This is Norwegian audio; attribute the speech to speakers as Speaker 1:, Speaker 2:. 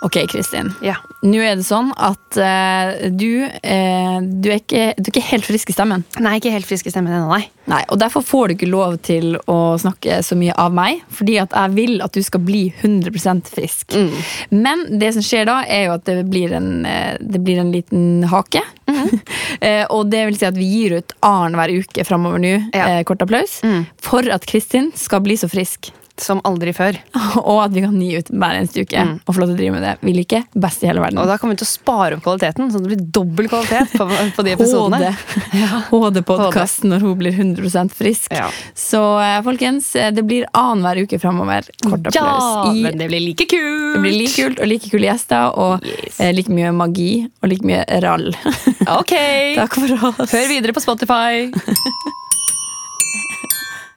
Speaker 1: Ok, Kristin.
Speaker 2: Ja.
Speaker 1: Nå er det sånn at eh, du, eh, du, er ikke, du er ikke helt frisk i stemmen.
Speaker 2: Nei, ikke helt frisk i stemmen ennå, nei.
Speaker 1: Nei, og Derfor får du ikke lov til å snakke så mye av meg, fordi at jeg vil at du skal bli 100 frisk.
Speaker 2: Mm.
Speaker 1: Men det som skjer da, er jo at det blir en, eh, det blir en liten hake. Eh, og det vil si at vi gir ut annenhver uke framover nå,
Speaker 2: Ja. Mm.
Speaker 1: eh, kort applaus, for at Kristin skal bli så frisk.
Speaker 2: Som aldri før.
Speaker 1: Og at vi kan gi ut hver eneste uke. Og få lov til å drive med det. Vi liker best i hele verden.
Speaker 2: Og da kommer vi til å spare opp kvaliteten, så det blir dobbel kvalitet på, på de episodene.
Speaker 1: HD-podkast når hun blir 100 frisk.
Speaker 2: Ja.
Speaker 1: Så eh, folkens, eh, det blir annenhver uke framover. Kort
Speaker 2: Ja,
Speaker 1: applaus. I,
Speaker 2: men det blir like kult!
Speaker 1: det blir like kult og like kule gjester og
Speaker 2: Yes.
Speaker 1: eh, like mye magi og like mye rall.
Speaker 2: Ok,
Speaker 1: Takk for oss.
Speaker 2: hør videre på Spotify.